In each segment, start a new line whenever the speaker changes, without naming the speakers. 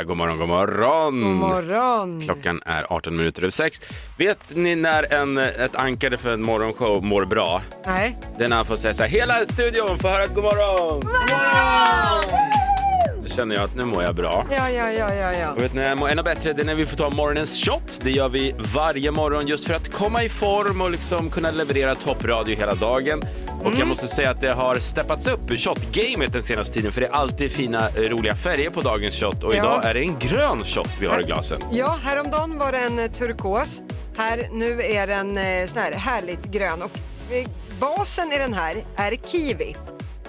Ja, God morgon, god morgon.
God morgon.
Klockan är 18 minuter över 6. Vet ni när en, ett ankare för en morgonshow mår bra?
Nej.
Det är när han får säga så här, hela studion får höra ett god morgon. Då känner jag att nu mår jag bra.
Ja, ja, ja, ja, ja.
Och vet ni när jag mår ännu bättre? Det är när vi får ta morgonens shot. Det gör vi varje morgon just för att komma i form och liksom kunna leverera toppradio hela dagen. Och
Mm.
jag måste säga att det har steppats upp i shot-gamet den senaste tiden för det är alltid fina eh, roliga färger på dagens shot och
Ja.
idag är det en grön shot vi har i glasen.
Ja, häromdagen var det en eh, turkos. Här, nu är den eh, sån här härligt grön och eh, basen i den här är kiwi.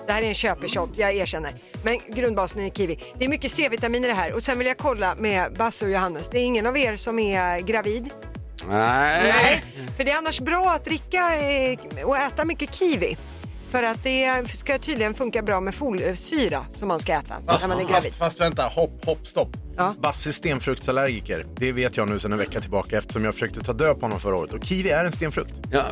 Det här är en köpeshot, jag erkänner. Men grundbasen är kiwi. Det är mycket C-vitamin i det här och sen vill jag kolla med Basse och Johannes. Det är ingen av er som är gravid?
Nej.
Nej, för det är annars bra att dricka eh, och äta mycket kiwi. För att det ska tydligen funka bra med folsyra som man ska äta när man är gravid.
fast, fast vänta, hopp, hopp, stopp.
Ja.
Basse är stenfruktsallergiker. Det vet jag nu sedan en vecka tillbaka eftersom jag försökte ta död på honom förra året. Och kiwi är en stenfrukt.
Ja,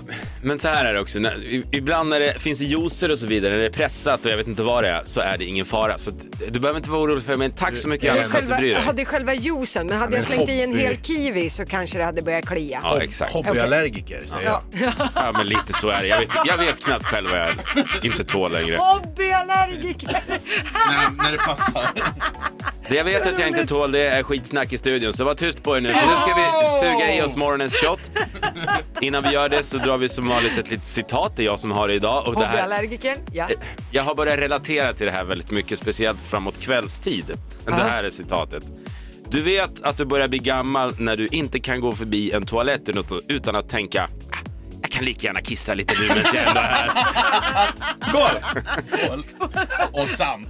men så här är det också. När, i- ibland när det finns juicer och så vidare, när det är pressat och jag vet inte vad det är, så är det ingen fara. Så att, du behöver inte vara orolig för mig. Men tack så mycket
Det är
Johannes för att du
själva,
bryr
ja,
dig.
det är själva juicen, men hade jag slängt i en
hopp, det-
hel kiwi så kanske det hade börjat klia.
Ja, exakt.
Hobbyallergiker, säger jag.
Ja.
Ja, men lite så är det. Jag vet, jag vet knappt själv vad jag inte tål längre.
Hobbyallergiker!
När, när det passar.
Det jag vet att jag inte tål det är skitsnack i studion, så var tyst på er nu. För nu ska vi suga i oss morgonens shot. Innan vi gör det så drar vi som vanligt ett litet citat. Det är jag som har det idag. Och det här,
Hobbyallergiker, ja.
Jag har börjat relatera till det här väldigt mycket, speciellt framåt kvällstid. Det här är citatet. Du vet att du börjar bli gammal när du inte kan gå förbi en toalett utan- utan att tänka "Ah, jag kan lika gärna kissa lite nu medan jag ändå är här. Skål!
Och sant.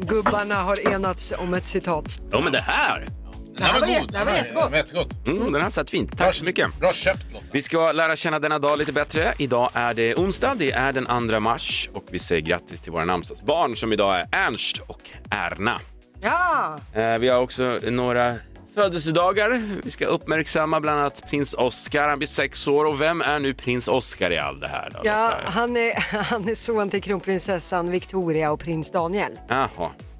Gubbarna har enats om ett citat.
Ja, men det här!
Den här
var
var
jä-
god.
den här var jättegod.
jättegod.
Mm, den här satt fint. Tack så mycket.
Bra köpt Lotta.
Vi ska lära känna denna dag lite bättre. Idag är det onsdag, det är den 2 mars och vi säger grattis till våra namnsdagsbarn som idag är Ernst och Erna.
Ja!
Eh, Vi har också några födelsedagar. Vi ska uppmärksamma bland annat prins Oscar. Han blir sex år. Och vem är nu prins Oscar i allt det här? Då,
ja
Lotta?
han, är, han är son till kronprinsessan Victoria och prins Daniel.
Jaha.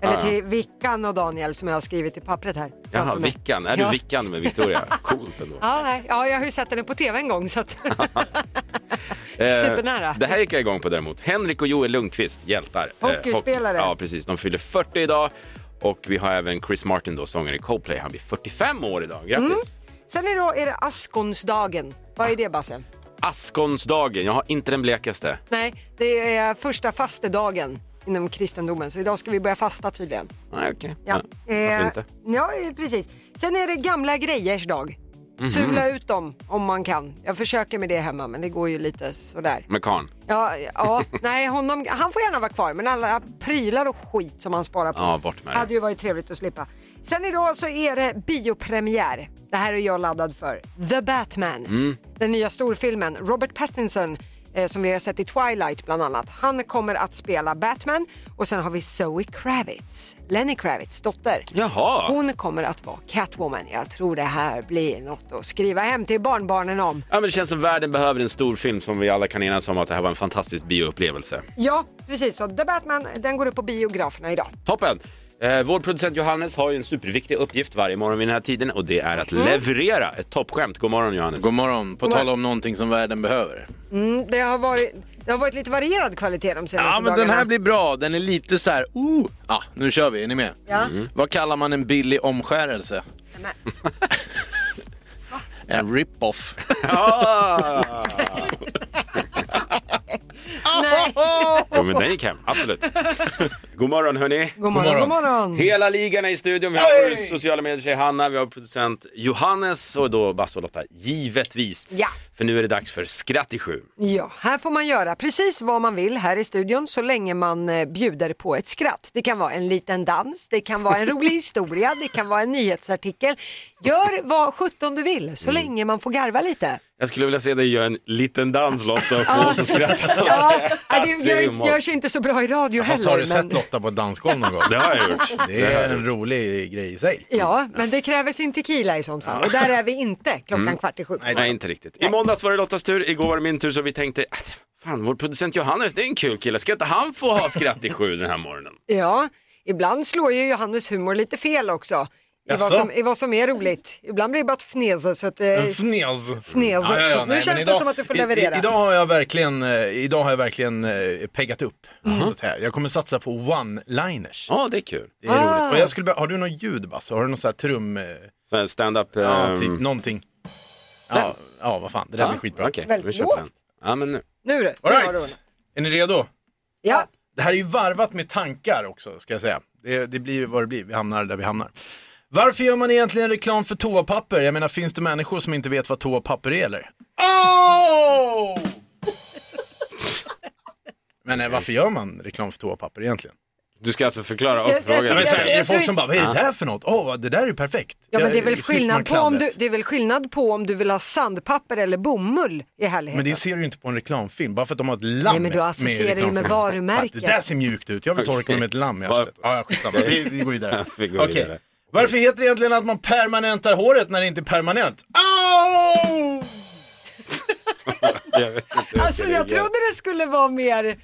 Eller
Ja,
till Vickan och Daniel som jag har skrivit i pappret
ja.
här.
Ah. Jaha,
framför mig.
Vickan. Är
Ja.
du Vickan med Victoria? Coolt ändå.
Ja, nej. ja, jag har ju sett henne på tv en gång så att...
Eh,
Supernära.
Det här gick jag igång på däremot. Henrik och Joel Lundqvist, hjältar. Eh,
Hockeyspelare.
hockey. Ja, precis. De fyller 40 idag. Och vi har även Chris Martin, då, sångare i Coldplay. Han blir 45 år idag. Grattis!
Sen är det, då, är det askonsdagen. Vad är det Basse?
Askonsdagen. Jag har inte den blekaste.
Nej, det är första fastedagen inom kristendomen så idag ska vi börja fasta tydligen.
Nej, okej.
Ja,
Varför inte?
ja eh, precis. Sen är det gamla grejers dag.
Mhm.
Sula ut dem om man kan. Jag försöker med det hemma men det går ju lite sådär.
Med karln.
Ja, ja nej, honom, han får gärna vara kvar men alla prylar och skit som han sparar på.
Ja, bort med det.
Hade ju varit trevligt att slippa. Sen idag så är det biopremiär. Det här är jag laddad för. The Batman. Den nya storfilmen. Robert Pattinson eh, som vi har sett i Twilight bland annat. Han kommer att spela Batman och sen har vi Zoe Kravitz, Lenny Kravitz dotter.
Jaha.
Hon kommer att vara Catwoman. Jag tror det här blir något att skriva hem till barnbarnen om.
Ja, men det känns som världen behöver en stor film som vi alla kan enas om att det här var en fantastisk bioupplevelse.
Ja, precis. Så The Batman, den går upp på biograferna idag.
Toppen! Eh, vår producent Johannes har ju en superviktig uppgift varje morgon vid den här tiden och det är att
Mm.
leverera ett toppskämt. God morgon Johannes!
God morgon. På tal om någonting som världen behöver.
Mm, det, har varit, det har varit lite varierad kvalitet de senaste
Ja, men
dagarna.
den här blir bra. Den är lite så här... Oh. Ja, nu kör vi. Är ni med?
Ja.
Mm.
Vad kallar man en billig omskärelse?
Men-
En rip-off.
Ah!
Nej.
jo, men den gick hem, absolut. God morgon hörni!
God morgon, god
morgon.
morgon.
Hela ligan är i studion. Vi har vår sociala medier Hanna, vi har producent Johannes och då Basse och Lotta, givetvis.
Ja.
För nu är det dags för Skratt i sju.
Ja, här får man göra precis vad man vill här i studion så länge man eh, bjuder på ett skratt. Det kan vara en liten dans, det kan vara en rolig historia, det kan vara en nyhetsartikel. Gör vad sjutton du vill så länge man får garva lite.
Jag skulle vilja se dig göra en liten dans Lotta och få oss att skratta.
Ja, ja, det
Det är
gör,
ju
inte-
mat.
görs inte så bra i radio
Fast
heller.
har du sett
men-
Lotta på ett dansgolv någon gång?
Det har jag gjort.
Det är en rolig grej i sig.
Ja, men det kräver sin tequila i sånt fall och där är vi inte klockan kvart i sju.
Nej, inte riktigt. I måndags var det Lottas tur, igår var det min tur så vi tänkte äh, att fan, vår producent Johannes, det är en kul kille. Ska inte han få ha skratt i sju den här morgonen?
Ja, ibland slår ju Johannes humor lite fel också. I vad,
Jaså?
som, I vad som är roligt. Ibland blir det bara ett fnesa så att... eh,
En fnez.
Fnez. Nu
men
känns det som att du får
i-
leverera.
I, idag har jag verkligen, eh, idag har jag verkligen eh, peggat upp.
Mhm.
Så att säga. Jag kommer satsa på one-liners.
Ja, det är kul.
Det är
Ah.
roligt. Och jag skulle, be- har du någon ljud Basse? Har du någon sån här trum... eh,
Så en stand-up...
Ja,
ehm,
typ någonting. Ja, ja, vad fan. Det där blir skitbra.
Okej,
Väldigt
vi kör på
lågt.
den. Ja, men nu.
nu du.
All
nu har du honom.
right. Är ni redo?
Ja.
Det här är ju varvat med tankar också, ska jag säga. Det, det blir vad det blir, vi hamnar där vi hamnar. Varför gör man egentligen reklam för toapapper? Jag menar, finns det människor som inte vet vad toapapper är eller? Oh! Men eh, varför gör man reklam för toapapper egentligen?
Du ska alltså förklara
jag
upp frågan.
tycker
Men
Jag-
så
jag-
här, är det
jag
folk
tror-
som bara, vad är det där för något? Åh, det där är ju perfekt.
Ja, men det är, väl
Jag- slipper man
skillnad på om du,
kladdet.
det är väl skillnad på om du vill ha sandpapper eller bomull i härligheten.
Men det ser du ju inte på en reklamfilm, bara för att de har ett lamm
Nej, men du associerar ju med
reklamfilmen.
varumärken.
Det där ser mjukt ut, jag vill torka mig med ett lamm i
Var-
arslet. Ja, ja, skitsamma, vi, vi går vidare.
Vi går
Okej.
vidare.
Varför heter det egentligen att man permanentar håret när det inte är permanent? Au!
Jag vet inte hur jag
Alltså
ska
jag
reagera.
trodde det skulle vara mer,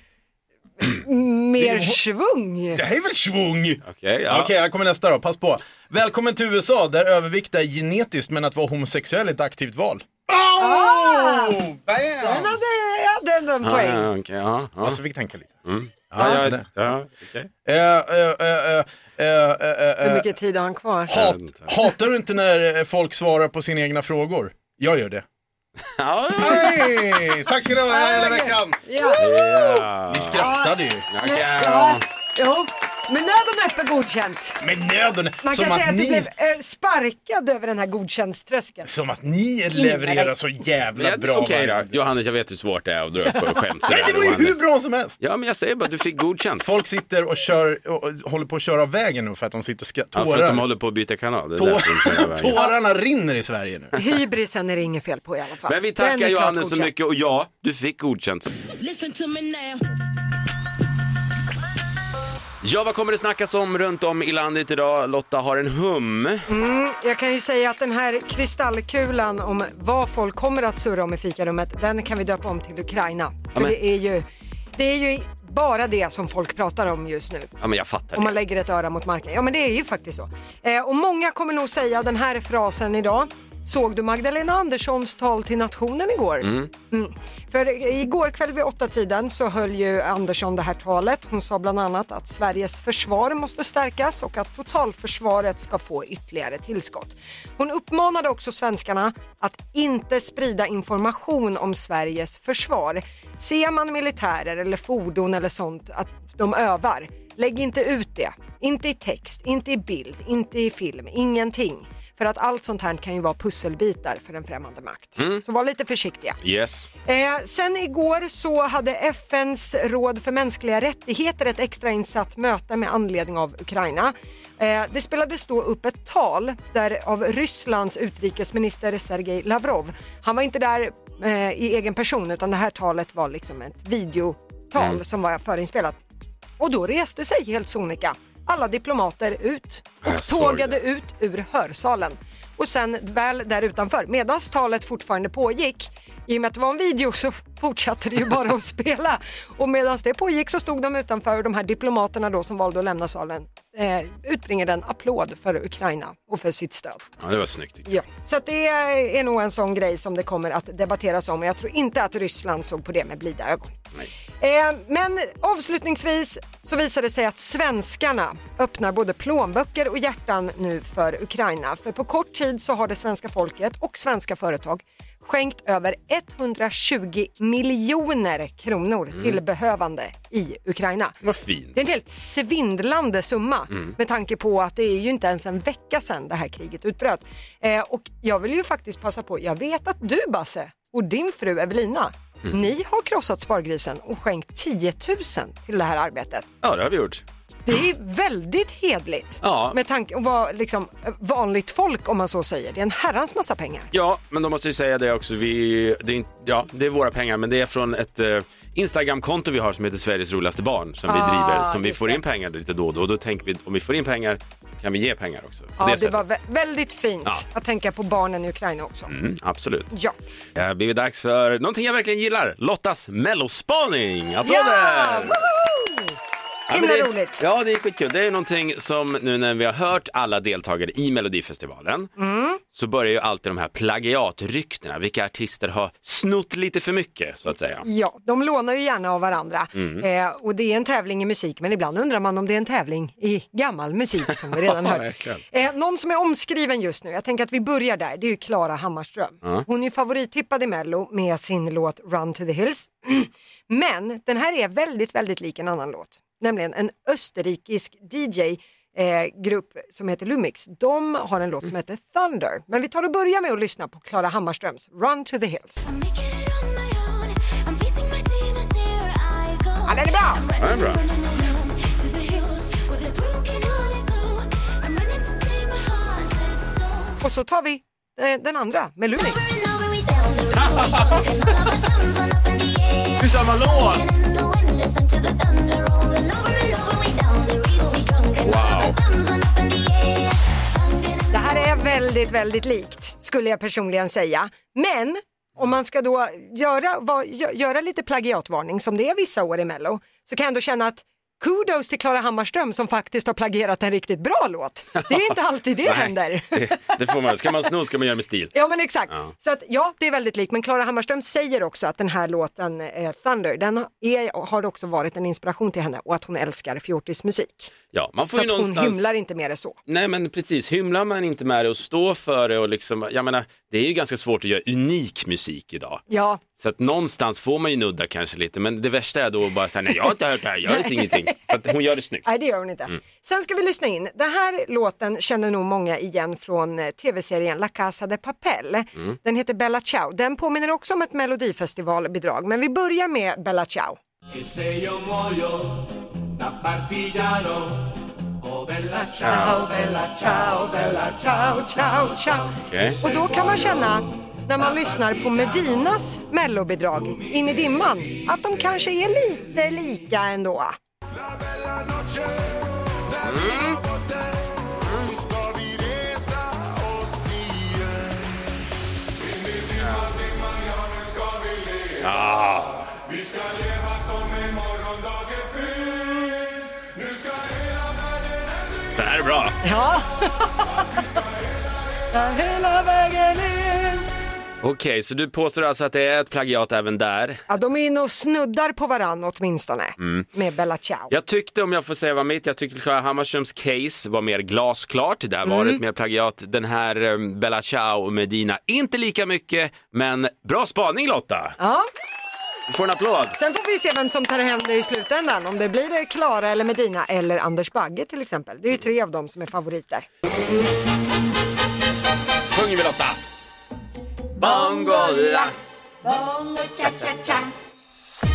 mer svung.
Det här är väl svung?
Okej, ja.
Okej, här kommer nästa då, pass på. Välkommen till USA där övervikt är genetiskt men att vara homosexuell är ett aktivt val. Au!
Men
Bam!
det, jag hade ändå en
Ja,
poäng.
ja, okej, ja, ja.
Alltså, vi fick tänka lite.
Mm. Ja, jag-
det där.
ja, okej.
Eh, eh, eh, eh, eh, eh, eh,
Hur mycket tid har han kvar?
Hat,
Skönt.
hatar du inte när eh, folk svarar på sina egna frågor? Jag gör det.
Ja,
Hej! Tack ska ni ha hela veckan.
Ja.
ja.
Vi skrattade ju.
Okej.
Ja. Jo, men nöden öppen godkänt.
Med nöden.
Man
Som
kan säga
att,
att du
ni,
blev eh, sparkad över den här godkäntströskeln.
som att ni levererar så jävla
Men jag-
bra.
Okej då,
varje-
Johannes jag vet hur svårt det är att dra upp och skämt
Nej,
sådär.
det var ju
Johannes.
hur bra som helst.
Ja men jag säger bara att du fick godkänt.
Folk sitter och, kör, och, och håller på att köra av vägen nu för att de sitter och skrattar.
ja, för att de
Tårar.
håller på att byta kanal. Det är
Tå-
därför de kör iväg.
Tårarna rinner i Sverige nu.
Hybrisen är det inget fel på i alla fall.
Men vi
Den är
tackar
klart
Johannes så
godkänd.
mycket och ja, du fick godkänt.
Listen to me now.
Ja, vad kommer det snackas om runt om i landet idag? Lotta har en hum.
Jag kan ju säga att den här kristallkulan om vad folk kommer att surra om i fikarummet, den kan vi döpa om till Ukraina. För
Amen.
det är, ju, det är ju bara det som folk pratar om just nu.
Ja men jag fattar
Om man
det.
lägger ett öra mot marken. Ja men det är ju faktiskt så. Eh, och många kommer nog säga den här frasen idag. Såg du Magdalena Anderssons tal till nationen igår? Mm. För igår kväll vid åtta tiden så höll ju Andersson det här talet. Hon sa bland annat att Sveriges försvar måste stärkas och att totalförsvaret ska få ytterligare tillskott. Hon uppmanade också svenskarna att inte sprida information om Sveriges försvar. Ser man militärer eller fordon eller sånt att de övar, lägg inte ut det. Inte i text, inte i bild, inte i film, ingenting. För att allt sånt här kan ju vara pusselbitar för en främmande makt. Så var lite försiktiga.
Yes.
Eh, sen igår så hade FNs råd för mänskliga rättigheter ett extrainsatt möte med anledning av Ukraina. Eh, det spelades då upp ett tal där av Rysslands utrikesminister Sergej Lavrov. Han var inte där eh, i egen person utan det här talet var liksom ett videotal som var förinspelat. Och då reste sig helt sonika alla diplomater ut
Jag
och
såg
tågade
det.
ut ur hörsalen. Och sen väl där utanför, medan talet fortfarande pågick, i och med att det var en video så fortsatte det ju bara att spela. Och medan det pågick så stod de utanför och de här diplomaterna då som valde att lämna salen eh, utbringade en applåd för Ukraina och för sitt stöd.
Ja, det var snyggt. tycker jag.
Ja. Så att det är nog en sån grej som det kommer att debatteras om och jag tror inte att Ryssland såg på det med blida ögon. Eh, men avslutningsvis så visar det sig att svenskarna öppnar både plånböcker och hjärtan nu för Ukraina. För på kort tid så har det svenska folket och svenska företag skänkt över 120 miljoner kronor till behövande i Ukraina.
Vad fint.
Det är en helt svindlande summa
Mm.
med tanke på att det är ju inte ens en vecka sedan det här kriget utbröt. Eh, och jag vill ju faktiskt passa på, jag vet att du Basse och din fru Evelina,
Mm.
ni har krossat spargrisen och skänkt 10 000 till det här arbetet.
Ja, det har vi gjort.
Det är väldigt hedligt
Ja.
med tanke på vad liksom, vanligt folk om man så säger. Det är en herrans massa pengar.
Ja, men då måste jag säga det också. Vi, det, är, inte- ja, det är våra pengar, men det är från ett eh, Instagramkonto vi har som heter Sveriges roligaste barn som vi
Ah,
driver, som vi
just
får
det.
in pengar lite då och då. Och då tänker vi, om vi får in pengar kan vi ge pengar också. På
Ja,
det
det,
sättet.
var vä- väldigt fint
Ja.
att tänka på barnen i Ukraina också.
Mm, absolut.
Ja.
Det har blivit dags för någonting jag verkligen gillar, Lottas mellospaning. Applåder!
Ja!
men
Himla
det,
roligt.
Ja, det är skitkul. Det är någonting som nu när vi har hört alla deltagare i Melodifestivalen
Mm.
så börjar ju alltid de här plagiatryktena. Vilka artister har snott lite för mycket så att säga.
Ja, de lånar ju gärna av varandra. Eh, och det är en tävling i musik, men ibland undrar man om det är en tävling i gammal musik som vi redan hört. Eh, någon som är omskriven just nu, jag tänker att vi börjar där, det är ju Klara Hammarström. Hon är ju favorittippad i Mello med sin låt Run to the Hills. men den här är väldigt, väldigt lik en annan låt, nämligen en österrikisk DJ eh, grupp som heter Lumix. De har en låt som heter Thunder. Men vi tar och börjar med att lyssna på Klara Hammarströms Run to the Hills.
Ja, den är bra! Den är bra.
Och så tar vi eh, den andra med Lumix.
Det är samma låt!
Det här är väldigt, väldigt likt skulle jag personligen säga. Men om man ska då göra, va, gö- göra lite plagiatvarning som det är vissa år i Mello så kan jag ändå känna att kudos till Klara Hammarström som faktiskt har plagierat en riktigt bra låt. Det är inte alltid det händer.
Det, det får man. Ska man sno ska man göra med stil.
Ja men exakt.
Ja.
Så att, ja, det är väldigt likt. Men Klara Hammarström säger också att den här låten eh, Thunder, den är, har också varit en inspiration till henne och att hon älskar fjortismusik.
Ja, man får
Så
ju
att hon
någonstans...
hymlar inte med det så.
Nej men precis, hymlar man inte med det och står för det och liksom, jag menar, det är ju ganska svårt att göra unik musik idag.
Ja,
Så att någonstans får man ju nudda kanske lite, men det värsta är då att bara säga nej jag har inte hört det här, jag vet ingenting. Så att hon gör det snyggt.
Nej, det gör hon inte. Sen ska vi lyssna in. Den här låten känner nog många igen från eh, tv-serien La Casa de Papel. Den heter Bella Ciao. Den påminner också om ett melodifestivalbidrag, men vi börjar med Bella Ciao.
Che se io muoio da partigiano, oh bella
Ciao, bella ciao, bella ciao, ciao, ciao.
Okej.
Och då kan man känna när man lyssnar på Medinas mellobidrag, In i dimman, att de kanske är lite lika ändå.
Det här är bra.
Ja. Hela vägen in.
Okej, så du påstår alltså att det är ett plagiat även där.
Ja, de är inne och snuddar på varann åtminstone med Bella Ciao.
Jag tyckte, om jag får säga vad mitt, jag tyckte Clara Hammarströms case var mer glasklart. Där var det ett mer plagiat. Den här um, Bella Ciao och Medina, inte lika mycket, men bra spaning Lotta!
Ja.
Du får en applåd.
Sen får vi se vem som tar hem det i slutändan. Om det blir det Klara eller Medina eller Anders Bagge till exempel. Det är ju tre av dem som är favoriter.
Sjunger vi Lotta! Bongola!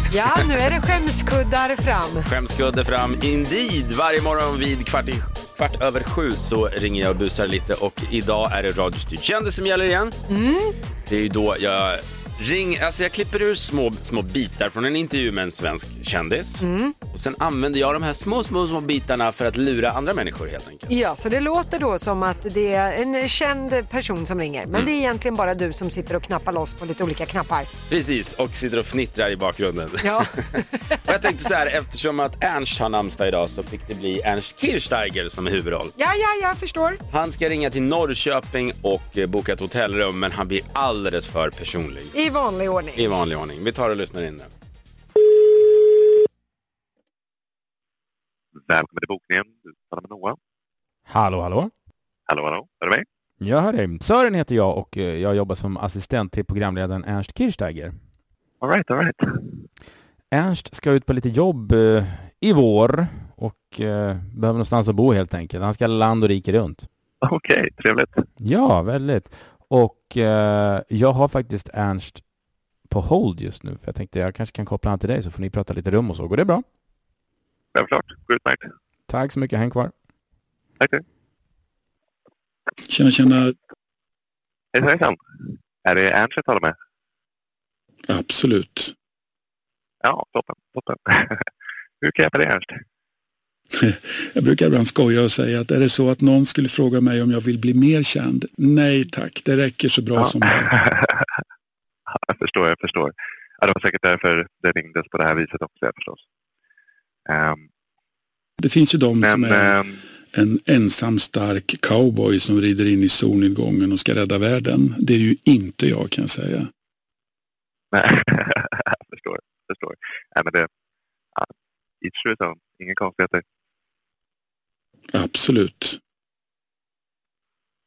Ja, nu är det skämskuddar fram.
Skämskudde fram, indeed! Varje morgon vid kvart, i, kvart över sju så ringer jag och busar lite och idag är det radiostyrd kändis som gäller igen. Det är ju då jag ring, alltså jag klipper ur små, små bitar från en intervju med en svensk kändis och sen använder jag de här små, små, små bitarna för att lura andra människor helt enkelt.
Ja, så det låter då som att det är en känd person som ringer. Men det är egentligen bara du som sitter och knappar loss på lite olika knappar.
Precis, och sitter och fnittrar i bakgrunden.
Ja.
och jag tänkte så här, eftersom att Ernst har namnsdag idag så fick det bli Ernst Kirchsteiger som är huvudroll.
Ja, ja, jag förstår.
Han ska ringa till Norrköping och eh, boka ett hotellrum men han blir alldeles för personlig.
I vanlig ordning.
I vanlig ordning. Vi tar och lyssnar in nu.
Välkommen till bokningen. Du talar med Noah.
Hallå, hallå.
Hallå, hallå. Är du med?
Jag hör dig. Sören heter jag och eh, jag jobbar som assistent till programledaren Ernst Kirchsteiger.
All right, all right.
Ernst ska ut på lite jobb eh, i vår och eh, behöver någonstans att bo helt enkelt. Han ska land och rike runt.
Okej, trevligt.
Ja, väldigt. Och eh, jag har faktiskt Ernst på hold just nu. För jag tänkte jag kanske kan koppla han till dig så får ni prata lite rum och så. Går det bra?
Självklart. Utmärkt.
Tack så mycket. Häng kvar.
Tack, tack.
Tjena, tjena.
Hejsan, hejsan. Är det Ernst jag talar med?
Absolut.
Ja, toppen, toppen. Hur kan jag hjälpa dig, Ernst?
Jag brukar ibland skoja och säga att är det så att någon skulle fråga mig om jag vill bli mer känd? Nej tack, det räcker så bra som det är.
Ja, jag förstår, jag förstår. Ja, det var säkert därför det ringdes på det här viset också, jag förstås. Ehm,
Det finns ju de som
Men
är
eh,
en ensam stark cowboy som rider in i solnedgången och ska rädda världen. Det är ju inte jag kan jag säga.
nej, jag förstår. jag förstår. Nej, men det, ja, each to his own. Inga konstigheter.
Absolut.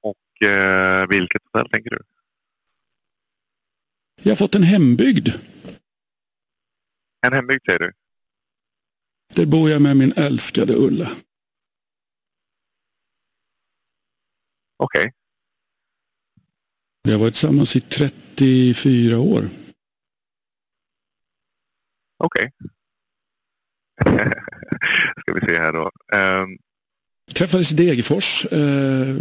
Och, eh, vilket hotell tänker du?
Jag har fått en hembygd.
En hembygd säger du?
Där bor jag med min älskade Ulla.
Okej.
Vi har varit tillsammans i 34 år.
Okej. ska vi se här då. Ehm,
Träffades i Degerfors. Eh,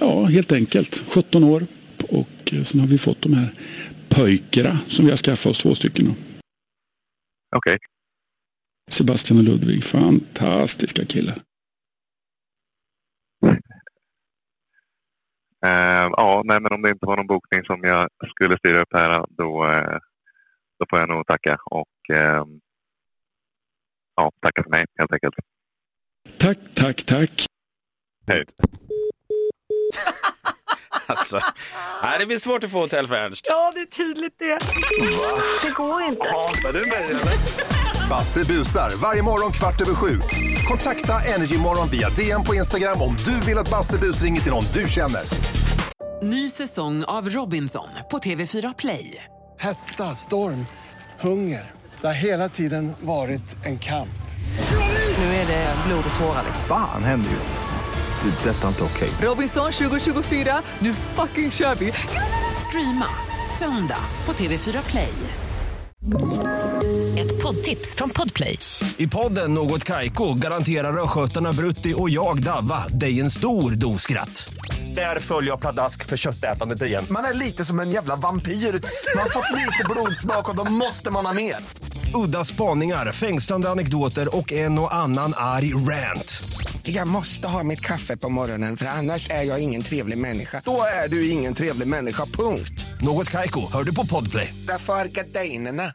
ja, helt enkelt. 17 år. Och eh, sen har vi fått de här pöjkerna som vi har skaffat oss två stycken. av.
Okej.
Sebastian och Ludvig. Fantastiska killar.
Ehm, ja, nej, men om det inte var någon bokning som jag skulle styra upp här då, eh, då får jag nog tacka och ehm, ja, tacka för mig helt enkelt.
Tack, tack, tack.
Alltså, nej, det blir svårt att få hotell för Ernst.
Ja, det är tydligt det.
Basse busar varje morgon kvart över sju. Kontakta Energymorgon via DM på Instagram om du vill att Basse bus ringer till någon du känner.
Ny säsong av Robinson på TV4 Play.
Hetta, storm, hunger. Det har hela tiden varit en kamp.
Nu är det blod och tårar.
Fan händer just nu. Det. är Detta är inte okej.
Robinson 2024, nu fucking kör vi! Streama söndag på TV4 Play. Ett poddtips från Podplay.
I podden Något Kaiko garanterar östgötarna Brutti och jag, Davva, dig en stor dos skratt. Där följer jag pladask för köttätandet igen.
Man är lite som en jävla vampyr. Man har fått lite blodsmak och då måste man ha mer.
Udda spaningar, fängslande anekdoter och en och annan arg rant.
Jag måste ha mitt kaffe på morgonen för annars är jag ingen trevlig människa. Då är du ingen trevlig människa, punkt.
Något Kaiko, hör du på Podplay.
Därför är gardinerna.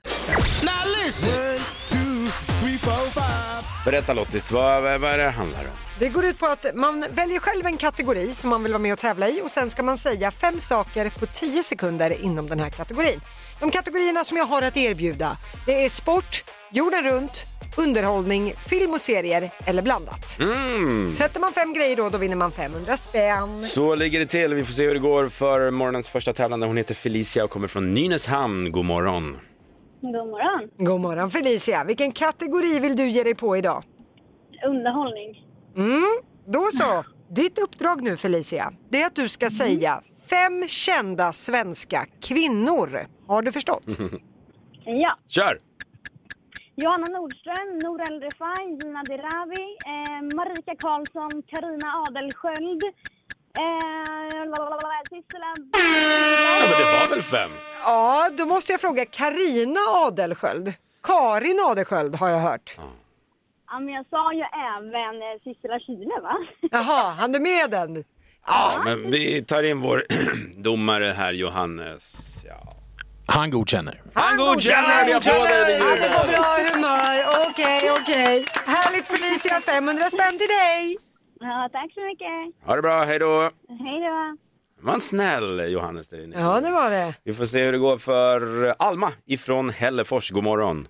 Berätta Lottis, vad, vad, vad är det det handlar om?
Det går ut på att man väljer själv en kategori som man vill vara med och tävla i och sen ska man säga fem saker på tio sekunder inom den här kategorin. De kategorierna som jag har att erbjuda det är sport, jorden runt, underhållning, film och serier eller blandat. Sätter man fem grejer då, då vinner man 500 spänn.
Mm, Så ligger det till. Vi får se hur det går för morgonens första tävlande. Hon heter Felicia och kommer från Nynäshamn. God morgon.
God morgon.
God morgon Felicia, vilken kategori vill du ge dig på idag?
Underhållning.
Mm, då så. Ditt uppdrag nu Felicia, det är att du ska säga fem kända svenska kvinnor. Har du förstått?
Mhm.
Ja.
Kör!
Johanna Nordström, Nour El Refai, Gina Dirawi, eh, Marika Karlsson, Karina Adelsköld. Eh, lalalala, Sissela...
Ja, men det var väl fem?
Ja, då måste jag fråga Karina Adelsköld. Karin Adelsköld har jag hört.
Ja, men jag sa ju även eh, Sissela Kyle, va?
Jaha, han är med den?
Ja, men vi tar in vår domare här, Johannes. Ja.
Han godkänner.
Han godkänner! Vi applåder! det
Han är
gör
på
vi.
bra humör. Okej, okej. Härligt Felicia, 500 spänn till dig.
Ja, tack så mycket.
Ha det bra, hej då!
Hej då.
Var en snäll Johannes där inne.
Ja, det var det.
Vi får se hur det går för Alma ifrån Hällefors. God morgon.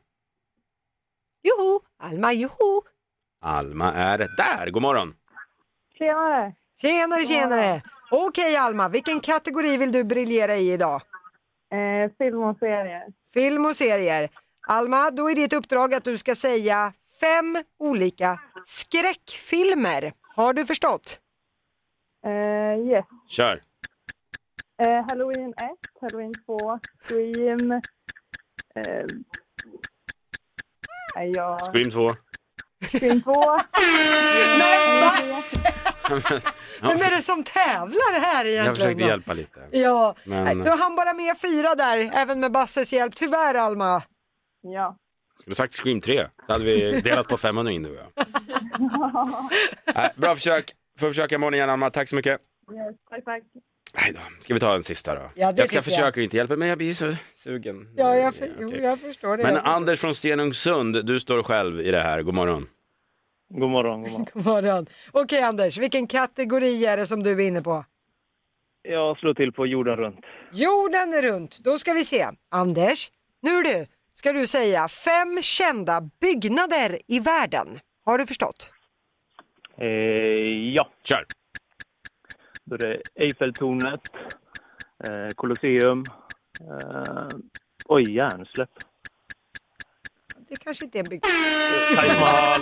Joho, Alma, joho.
Alma är där, god morgon.
Tjenare.
Tjenare, tjenare. Okej Alma, vilken kategori vill du briljera i idag?
Eh, film och serier.
Film och serier. Alma, då är ditt uppdrag att du ska säga fem olika skräckfilmer. Har du förstått?
Eh, yes.
Kör!
Eh, Halloween 1, Halloween 2, Scream. Eh, nej, ja,
Scream 2.
Scream 2.
Men vad? Vem är det som tävlar här egentligen?
Jag försökte
då?
hjälpa lite.
Ja,
Men-
Nej, du hann bara med fyra där, även med Basses hjälp. Tyvärr Alma.
Ja.
Skulle sagt Scream 3, så hade vi delat på 500 in du och jag. Nej, bra försök. Får försöka imorgon igen Alma, tack så mycket.
Yes, tack, tack.
Nej då, ska vi ta en sista då?
Ja, det
jag ska
tycker jag.
försöka inte hjälpa men jag blir så sugen.
Ja, jag,
okej.
jag förstår det.
Men Anders från Stenungsund, du står själv i det här, god morgon.
God morgon, god morgon.
God morgon. Okej Anders, vilken kategori är det som du är inne på?
Jag slår till på jorden runt.
Jorden är runt. Då ska vi se. Anders, nu du, ska du säga fem kända byggnader i världen. Har du förstått?
Eh, ja.
Kör!
Då är det Eiffeltornet, eh, Colosseum, eh, oj, järnsläpp.
Det kanske inte är en byggnad.
Taj Mahal.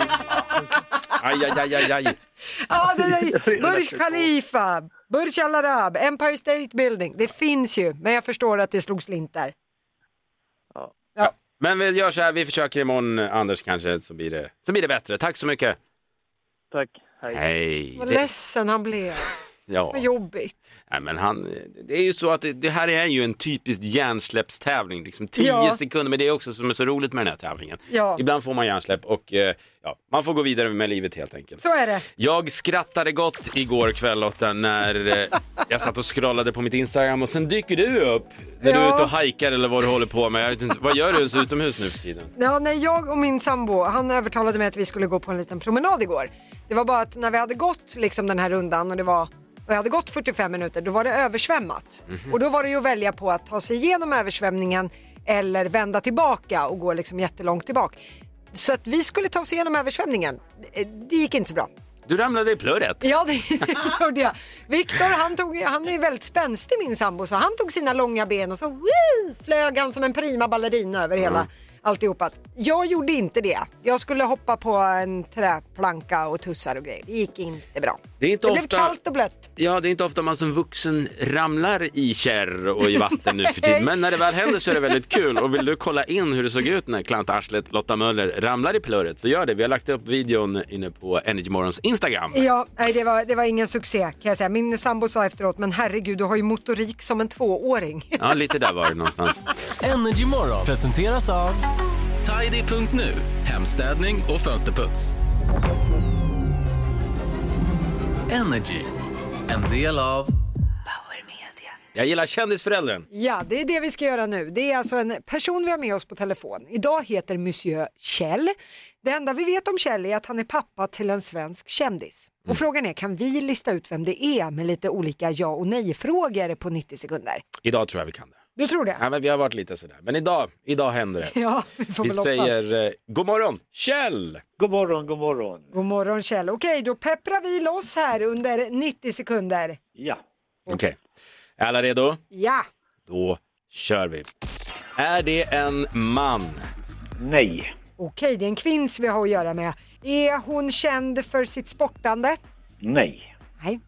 Aj, aj, aj, aj, aj.
Ja, det är Burj Khalifa, Burj Al Arab, Empire State Building. Det finns ju, men jag förstår att det slog slint där.
Men vi gör så här, vi försöker imorgon Anders kanske så blir det, så blir det bättre. Tack så mycket.
Tack.
Hej.
Vad
Det,
ledsen han blev.
ja.
Vad jobbigt.
Nej, men han, det är ju så att det, det här är ju en typisk hjärnsläppstävling. Liksom 10
Ja.
sekunder, men det är också som är så roligt med den här tävlingen.
Ja.
Ibland får man hjärnsläpp och eh, ja, man får gå vidare med livet helt enkelt.
Så är det.
Jag skrattade gott igår kväll Lotta när eh, jag satt och scrollade på mitt Instagram och sen dyker du upp när du är
Ja.
ute och hajkar eller vad du håller på med. Jag vet inte, vad gör du ens utomhus nu för tiden?
Ja, när jag och min sambo, han övertalade mig att vi skulle gå på en liten promenad igår. Det var bara att när vi hade gått liksom, den här rundan och det var och jag hade gått 45 minuter, då var det översvämmat.
Mhm.
Och då var det ju att välja på att ta sig igenom översvämningen eller vända tillbaka och gå liksom jättelångt tillbaka. Så att vi skulle ta oss igenom översvämningen, det, det gick inte så bra.
Du ramlade i plurret.
Ja, det det gjorde jag. Viktor, han, tog, han är väldigt spänstig min sambo, så han tog sina långa ben och så woo, flög han som en prima ballerina över hela
Mm.
alltihopa. Jag gjorde inte det. Jag skulle hoppa på en träplanka och tussar och grejer. Det gick inte bra.
Det är inte
det
ofta-
blev kallt och blött.
Ja, det är inte ofta man som vuxen ramlar i kärr och i vatten nu för tiden. Men när det väl händer så är det väldigt kul. Och vill du kolla in hur det såg ut när klantarslet Lotta Möller ramlar i plurret så gör det. Vi har lagt upp videon inne på Energymorgons Instagram.
Ja, nej, det, var, det var ingen succé kan jag säga. Min sambo sa efteråt, men herregud du har ju motorik som en tvååring.
Ja, lite där var det någonstans.
Energy Morgon presenteras av Tidy.nu, hemstädning och fönsterputs. Energy, en del av
Jag gillar kändisföräldern.
Ja, det är det vi ska göra nu. Det är alltså en person vi har med oss på telefon. Idag heter Monsieur Kjell. Det enda vi vet om Kjell är att han är pappa till en svensk kändis.
Mm.
Och frågan är, kan vi lista ut vem det är med lite olika ja och nej-frågor på 90 sekunder?
Idag tror jag vi kan det.
Du tror det?
Ja, men vi har varit lite sådär. Men idag, idag händer det.
Ja, vi får
Vi
väl hoppas.
säger eh, god morgon, Kjell!
God morgon, god morgon.
God morgon Kjell. Okej, då pepprar vi loss här under 90 sekunder.
Ja.
Okej, är alla redo?
Ja.
Då kör vi. Är det en man?
Nej.
Okej, det är en kvinns vi har att göra med. Är hon känd för sitt sportande?
Nej.
Nej.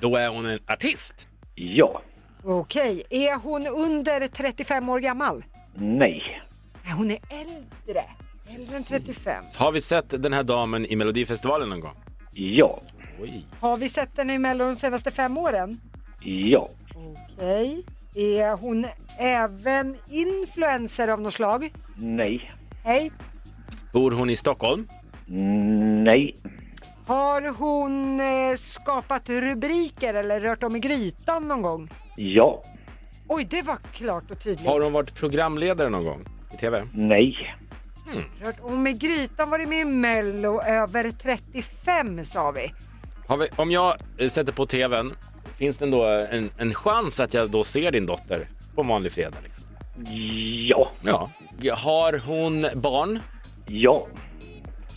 Då är hon en artist?
Ja.
Okej, är hon under 35 år gammal?
Nej.
Nej, hon är äldre. Äldre än 35.
Har vi sett den här damen i Melodifestivalen någon gång?
Ja.
Oj.
Har vi sett henne i Mello de senaste fem åren?
Ja.
Okej. Är hon även influencer av något slag?
Nej.
Hej.
Bor hon i Stockholm?
Nej.
Har hon eh, skapat rubriker eller rört om i grytan någon gång?
Ja.
Oj, det var klart och tydligt.
Har hon varit programledare någon gång i TV?
Nej.
Rört om i grytan, varit med i Mello, över 35 sa vi.
Har vi, om jag eh, sätter på TVn, finns det ändå en, en chans att jag då ser din dotter på en vanlig fredag? Liksom?
Ja.
Ja. Har hon barn?
Ja.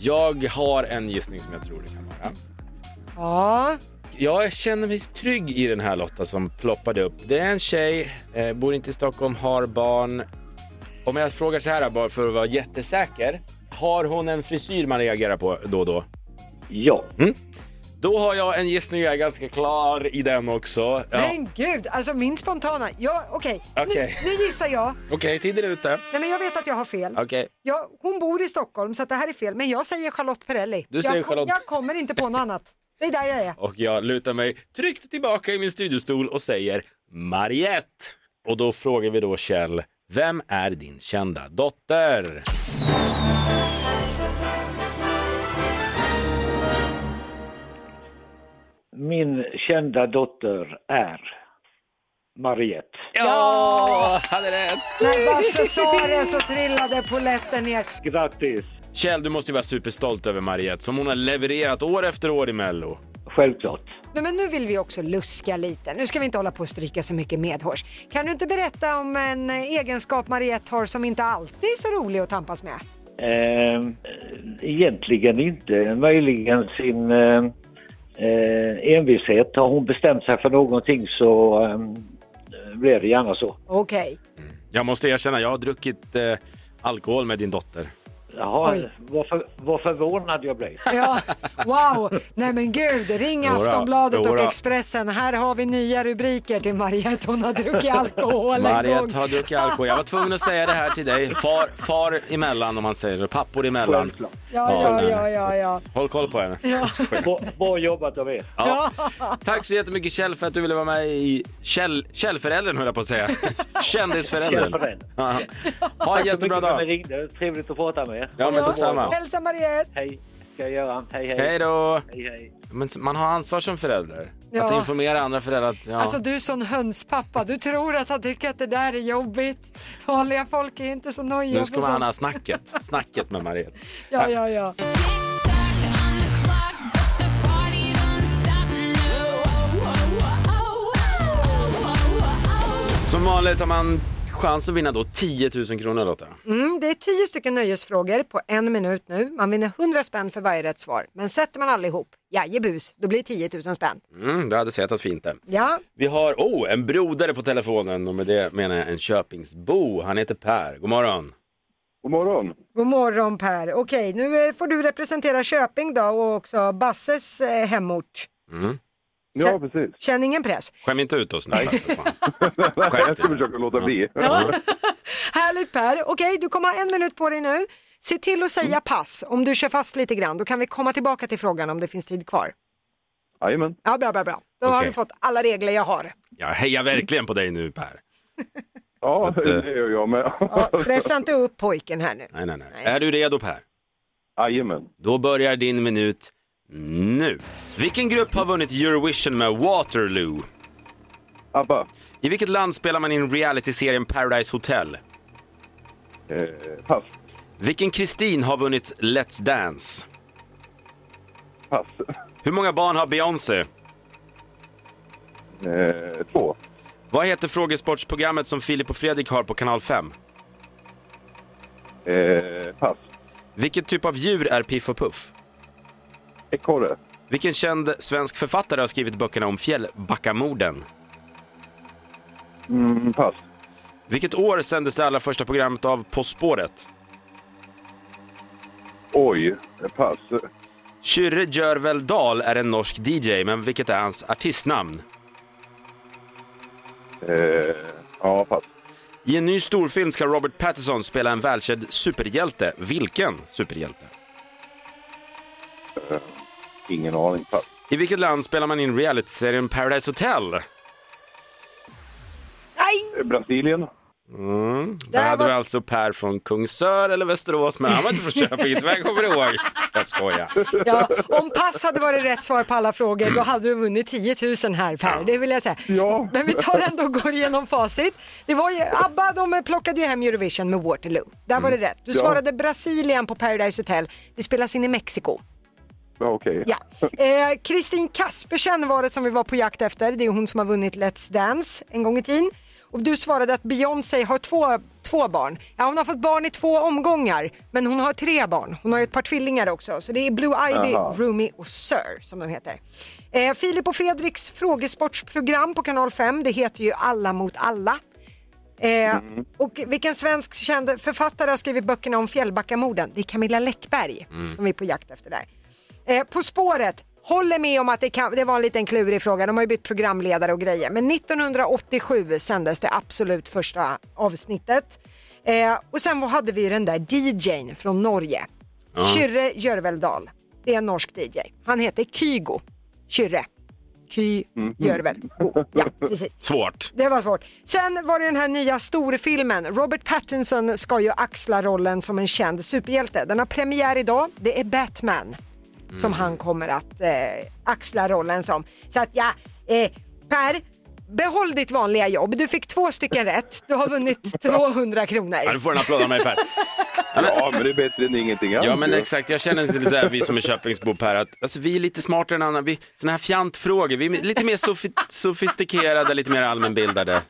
Jag har en gissning som jag tror det kan vara.
Ja.
Jag känner mig trygg i den här Lotta som ploppade upp. Det är en tjej, eh, bor inte i Stockholm, har barn. Om jag frågar så här bara för att vara jättesäker. Har hon en frisyr man reagerar på då och då?
Ja.
Mm. Då har jag en gissning, jag är ganska klar i den också. Ja. Okej,
Men gud, alltså min spontana. Ja, okej.
Okej.
Nu, nu gissar jag.
tiden är ute.
Nej, men jag vet att jag har fel.
Okej,
Ja, hon bor i Stockholm så att det här är fel, men jag säger Charlotte Perrelli.
Du säger
jag, kom-
Charlotte.
jag kommer inte på något annat. Det är där jag är.
och jag lutar mig tryggt tillbaka i min studiostol och säger Mariette. Och då frågar vi då Kjell, vem är din kända dotter?
Min kända dotter är Mariette.
Ja, hade rätt!
När Basse sa det så trillade poletten ner.
Grattis!
Kjell, du måste ju vara superstolt över Mariette som hon har levererat år efter år i Mello.
Självklart.
Nej, men nu vill vi också luska lite. Nu ska vi inte hålla på och stryka så mycket medhårs. Kan du inte berätta om en eh, egenskap Mariette har som inte alltid är så rolig att tampas med?
Eh, egentligen inte. Möjligen sin eh, eh, envishet. Har hon bestämt sig för någonting så eh, blir det gärna så.
Okej.
Jag måste erkänna, jag har druckit eh, alkohol med din dotter.
Jaha,
Oj.
vad, för, vad förvånad jag blev.
Ja, wow! Nej men gud, ring
Jodå,
Aftonbladet och
jodå.
Expressen. Här har vi nya rubriker till Mariette. Hon har druckit alkohol en gång.
Mariette har druckit alkohol. Jag var tvungen att säga det här till dig. Far, far emellan om man säger så, pappor emellan.
Ja, ja,
nej.
ja, ja, ja.
Håll koll på henne.
Bra, bra jobbat av er.
Ja. Tack så jättemycket Kjell för att du ville vara med i Kjell, Kjellföräldern höll jag på att säga. Kändisföräldern.
Kjellföräldern.
Ja. Ha en jättebra
Tack så mycket för att ni
dag.
ringde. Trevligt att prata med er.
Ja, men detsamma.
Hälsa Mariette!
Hej, ska jag göra. Hej, hej.
Hej då.
Hej, hej.
Men man har ansvar som förälder. Att
Ja.
informera andra föräldrar att... Ja.
Alltså du är sån hönspappa, du tror att han tycker att det där är jobbigt. Vanliga folk är inte så nojiga.
nu ska
på
man
sånt.
ha snacket. Snacket med Mariette.
Ja, ja, ja.
Som vanligt har man chans att vinna då 10 000 kronor Lotta.
Mm, det är tio stycken nöjesfrågor på en minut nu. Man vinner 100 spänn för varje rätt svar. Men sätter man allihop, jajebus, då blir det 10 000 spänn.
Mm, det hade sett fint det.
Ja,
Vi har, oh, en brodare på telefonen och med det menar jag en Köpingsbo. Han heter Per. God morgon.
God morgon.
god morgon Per. Okej, nu eh, får du representera Köping då och också Basses eh, hemort.
Mm.
Ja, precis.
Känn ingen press.
Skäm inte ut oss nu.
jag ska försöka låta bli.
Härligt Per. Okej, du kommer ha en minut på dig nu. Se till att
Mm.
säga pass om du kör fast lite grann. Då kan vi komma tillbaka till frågan om det finns tid kvar.
Jajamän.
Ja, bra, bra, bra. Då har
Okej.
du fått alla regler jag har.
Jag hejar verkligen på dig nu Per.
Ja,
Så att, eh,
det gör jag med.
Stressa inte upp pojken här nu.
Nej, nej, nej. Är du redo Per?
Jajamän.
Då börjar din minut nu. Vilken grupp har vunnit Eurovision med Waterloo?
ABBA.
I vilket land spelar man in realityserien Paradise Hotel?
Eh, pass.
Vilken Kristin har vunnit Let's Dance?
Pass.
Hur många barn har Beyoncé?
Eh, två.
Vad heter frågesportsprogrammet som Filip och Fredrik har på kanal 5?
Eh, pass.
Vilket typ av djur är Piff och Puff?
Ekorre.
Vilken känd svensk författare har skrivit böckerna om Fjällbackamorden?
Mm, pass.
Vilket år sändes det allra första programmet av På spåret?
Oj. Pass.
Kyrre Jörvel Dahl är en norsk DJ, men vilket är hans artistnamn?
Eh, ja, pass.
I en ny storfilm ska Robert Pattinson spela en välkänd superhjälte. Vilken superhjälte?
Eh, ingen aning. Pass.
I vilket land spelar man in realityserien Paradise Hotel?
Eh, Brasilien.
Mm. Där hade vi alltså Per från Kungsör eller Västerås, men han var inte från Köping, inte vad jag kommer ihåg. Jag skojar.
Ja, om pass hade varit rätt svar på alla frågor då hade du vunnit 10 000 här Per, det vill jag säga. Men vi tar ändå och går igenom facit. Det var ju, ABBA de plockade ju hem Eurovision med Waterloo. Där var det rätt. Du
Ja.
svarade Brasilien på Paradise Hotel. Det spelas in i Mexiko.
Ja, Okej.
Ja. Eh, Kristin Kaspersen var det som vi var på jakt efter. Det är hon som har vunnit Let's Dance en gång i tiden. Och du svarade att Beyoncé har två, två barn. Ja, hon har fått barn i två omgångar, men hon har tre barn. Hon har ju ett par tvillingar också. Så det är Blue Ivy,
Aha.
Rumi och Sir som de heter. Eh, Filip och Fredriks frågesportsprogram på Kanal 5, det heter ju Alla mot alla. Eh,
Mm.
Och vilken svensk känd författare har skrivit böckerna om Fjällbackamorden? Det är Camilla Läckberg
Mm.
som vi är på jakt efter där. Eh, på spåret, håller med om att det, kan, det var en liten klurig fråga, de har ju bytt programledare och grejer. Men 1987 sändes det absolut första avsnittet. Eh, och sen hade vi ju den där DJn från Norge,
Ja.
Kyrre Jörveldal. Det är en norsk DJ. Han heter Kygo. Kyrre. Ky
Mm.
Jörvel. Go. Ja, precis.
Svårt.
Det var svårt. Sen var det den här nya storfilmen. Robert Pattinson ska ju axla rollen som en känd superhjälte. Den har premiär idag. Det är Batman
Mm.
som han kommer att eh, axla rollen som. Så att ja, eh, Per, behåll ditt vanliga jobb. Du fick två stycken rätt. Du har vunnit 200 kronor.
Ja, du får en applåd av mig Per.
Ja, men det är bättre än ingenting alls.
Ja men
ju.
exakt, jag känner lite där vi som är Köpingsbo Per, att alltså, vi är lite smartare än andra. Vi, såna här fjantfrågor, vi är lite mer sofi- sofistikerade, lite mer allmänbildade.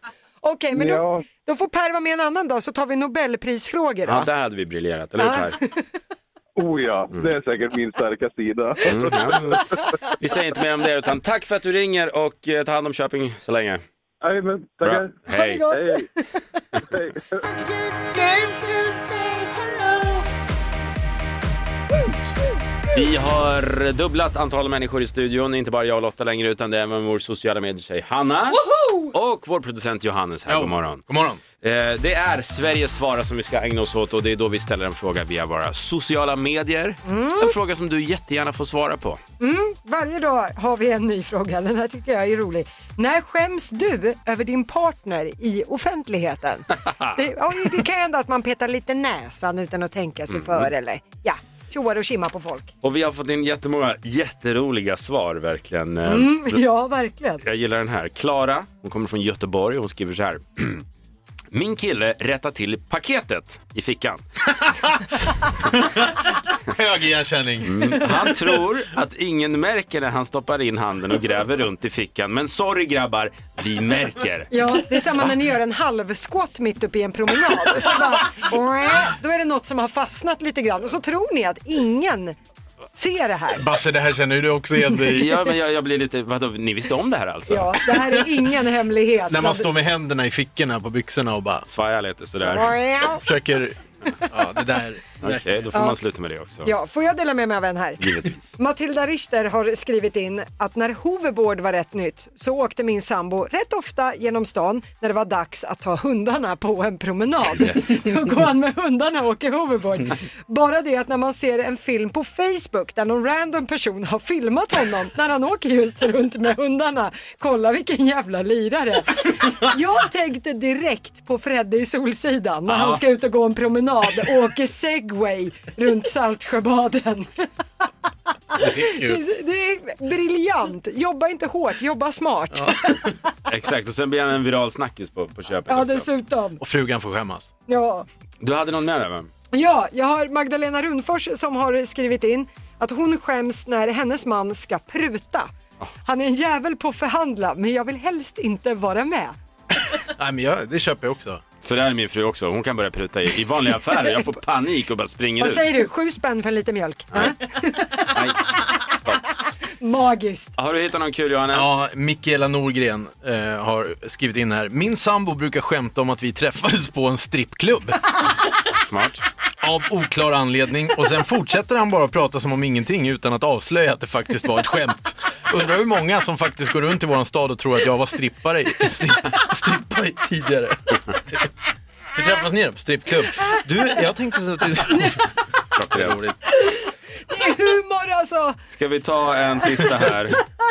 Okej, men
Ja.
då, då får Per vara med en annan dag så tar vi Nobelprisfrågor då.
Ja, där hade vi briljerat, eller hur Per?
Oh ja, det är säkert min starka sida.
Mm, ja. Vi säger inte mer om det, utan tack för att du ringer och eh, ta hand om Köping så länge.
Nej, men tackar.
Bra. Hej. Ha det Vi har dubblat antalet människor i studion, inte bara jag och Lotta längre utan det är även vår sociala medietjej Hanna och vår producent Johannes här. God morgon.
God morgon.
Eh, Det är Sveriges svara som vi ska ägna oss åt och det är då vi ställer en fråga via våra sociala medier. En fråga som du jättegärna får svara på.
Mm, varje dag har vi en ny fråga. Den här tycker jag är rolig. När skäms du över din partner i offentligheten? det, ja, det kan hända att man petar lite näsan utan att tänka sig
Mm.
för eller ja, tjoar och tjimmar på folk.
Och vi har fått in jättemånga jätteroliga svar verkligen. Eh,
Mm, ja, verkligen.
Jag gillar den här. Klara, hon kommer från Göteborg och hon skriver så här. Min kille rättar till paketet i fickan.
Hög igenkänning.
Han tror att ingen märker när han stoppar in handen och gräver runt i fickan. Men sorry grabbar, vi märker.
Ja, det är samma när ni gör en halvskott mitt uppe i en promenad. Och så bara, då är det något som har fastnat lite grann och så tror ni att ingen ser det här.
Basse, det här känner ju du också igen dig i.
Ja, men jag, jag blir lite, vadå, ni visste om det här alltså?
Ja, det här är ingen hemlighet.
När man står med händerna i fickorna på byxorna och bara...
Svajar lite
Ja.
Försöker... Ja, det där...
Okej, då får
Ja.
man sluta med det också.
Ja, får jag dela med mig av en här?
Givetvis.
Matilda Richter har skrivit in att när hoverboard var rätt nytt så åkte min sambo rätt ofta genom stan när det var dags att ta hundarna på en promenad.
Yes.
Då går han med hundarna och åker hoverboard. Bara det att när man ser en film på Facebook där någon random person har filmat honom när han åker just runt med hundarna. Kolla vilken jävla lirare. Jag tänkte direkt på Fredde i Solsidan när han
Ja.
ska ut och gå en promenad och åker segway runt Saltsjöbaden. Det är, det är briljant. Jobba inte hårt, jobba smart. Ja,
Exakt, och sen blir han en viral snackis på, på köpet också.
dessutom.
Och frugan får skämmas.
Ja.
Du hade någon med där va?
ja, jag har Magdalena Runfors som har skrivit in att hon skäms när hennes man ska pruta. Han är en jävel på att förhandla men jag vill helst inte vara med.
Nej, men jag, det köper jag också.
Så där är min fru också, hon kan börja pruta i, i vanliga affärer. Jag får panik och bara springer
Vad
ut.
säger du, sju spänn för lite mjölk? Äh?
Stopp.
Magiskt.
Har du hittat någon kul Johannes?
Ja, Mikaela Norgren eh, har skrivit in här. Min sambo brukar skämta om att vi träffades på en strippklubb.
Smart.
Av oklar anledning. Och sen fortsätter han bara prata som om ingenting utan att avslöja att det faktiskt var ett skämt. Undrar hur många som faktiskt går runt i våran stad och tror att jag var strippare i- stripp, strippa i tidigare. Hur träffas ni då? På strippklubb? Du, jag tänkte så att du...
Klockrent.
Det är humor alltså.
Ska vi ta en sista här?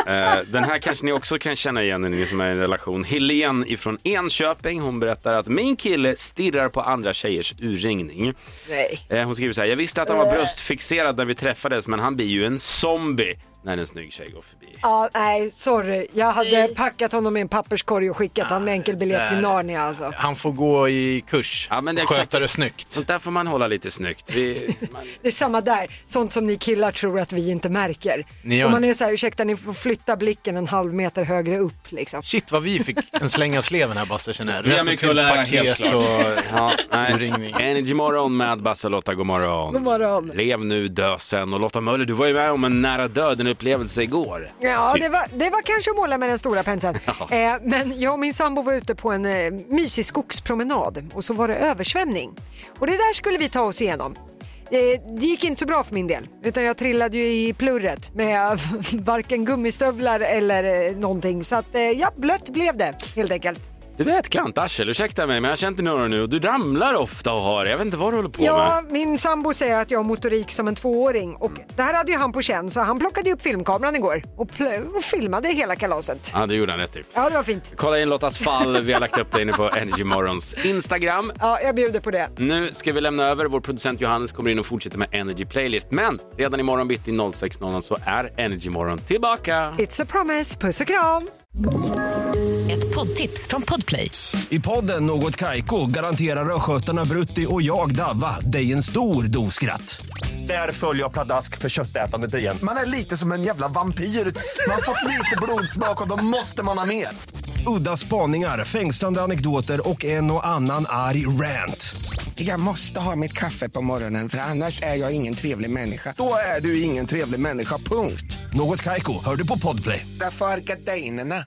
Eh, Den här kanske ni också kan känna igen ni som är i en relation. Helen ifrån Enköping, hon berättar att min kille stirrar på andra tjejers urringning.
Nej.
Eh, Hon skriver så här, jag visste att han
Eh.
var bröstfixerad när vi träffades men han blir ju en zombie när en snygg tjej går förbi.
Ja, nej, sorry. Jag hade packat honom i en papperskorg och skickat honom med enkelbiljett till
där.
Narnia alltså.
Han får gå i kurs
ja, men det är
och sköta
exakt.
det snyggt.
Sånt där får man hålla lite snyggt. Vi, man,
Det är samma där, sånt som ni killar tror att vi inte märker.
Ni gör
Om man
inte.
är så här, ursäkta ni får flytta blicken en halv meter högre upp liksom.
Shit vad vi fick en släng av sleven här Basse känner jag.
vi har
Rätt
mycket
till
att lära
paket
helt klart.
och-
Ja, nej. Energy morgon med Basse och Lotta, god morgon.
God morgon.
Lev nu, dö sen. Och Lotta Möller, du var ju med om en nära döden-upplevelse igår.
Ja,
Typ.
det var, det var kanske att måla med den stora penseln.
Ja.
Eh, men jag och min sambo var ute på en eh, mysig skogspromenad och så var det översvämning. Och det där skulle vi ta oss igenom. Eh, det gick inte så bra för min del, utan jag trillade ju i plurret med varken gummistövlar eller eh, någonting. Så att, eh, ja, blött blev det helt enkelt.
Du vet klantarsel, ursäkta mig men jag har känt dig några år nu och du ramlar ofta och har det. Jag vet inte vad du håller på
Ja,
med.
min sambo säger att jag har motorik som en tvååring och det här hade ju han på känn så han plockade ju upp filmkameran igår och, pl- och filmade hela kalaset.
Ja, det gjorde han rätt i.
Ja, det var fint.
Kolla in Lottas fall, vi har lagt upp det inne på Energy Morgons Instagram.
Ja, jag bjuder på det.
Nu ska vi lämna över, vår producent Johannes kommer in och fortsätter med Energy Playlist. Men redan imorgon bitti 06.00 så är Energy Morgon tillbaka.
It's a promise. Puss och kram!
Ett poddtips från Podplay.
I podden Något Kaiko garanterar östgötarna Brutti och jag, Davva, dig en stor dos skratt. Där följer jag pladask för köttätandet igen.
Man är lite som en jävla vampyr. Man har fått lite blodsmak och då måste man ha mer.
Udda spaningar, fängslande anekdoter och en och annan arg rant.
Jag måste ha mitt kaffe på morgonen för annars är jag ingen trevlig människa. Då är du ingen trevlig människa, punkt.
Något Kaiko, hör du på Podplay.
Därför arkadeinerna.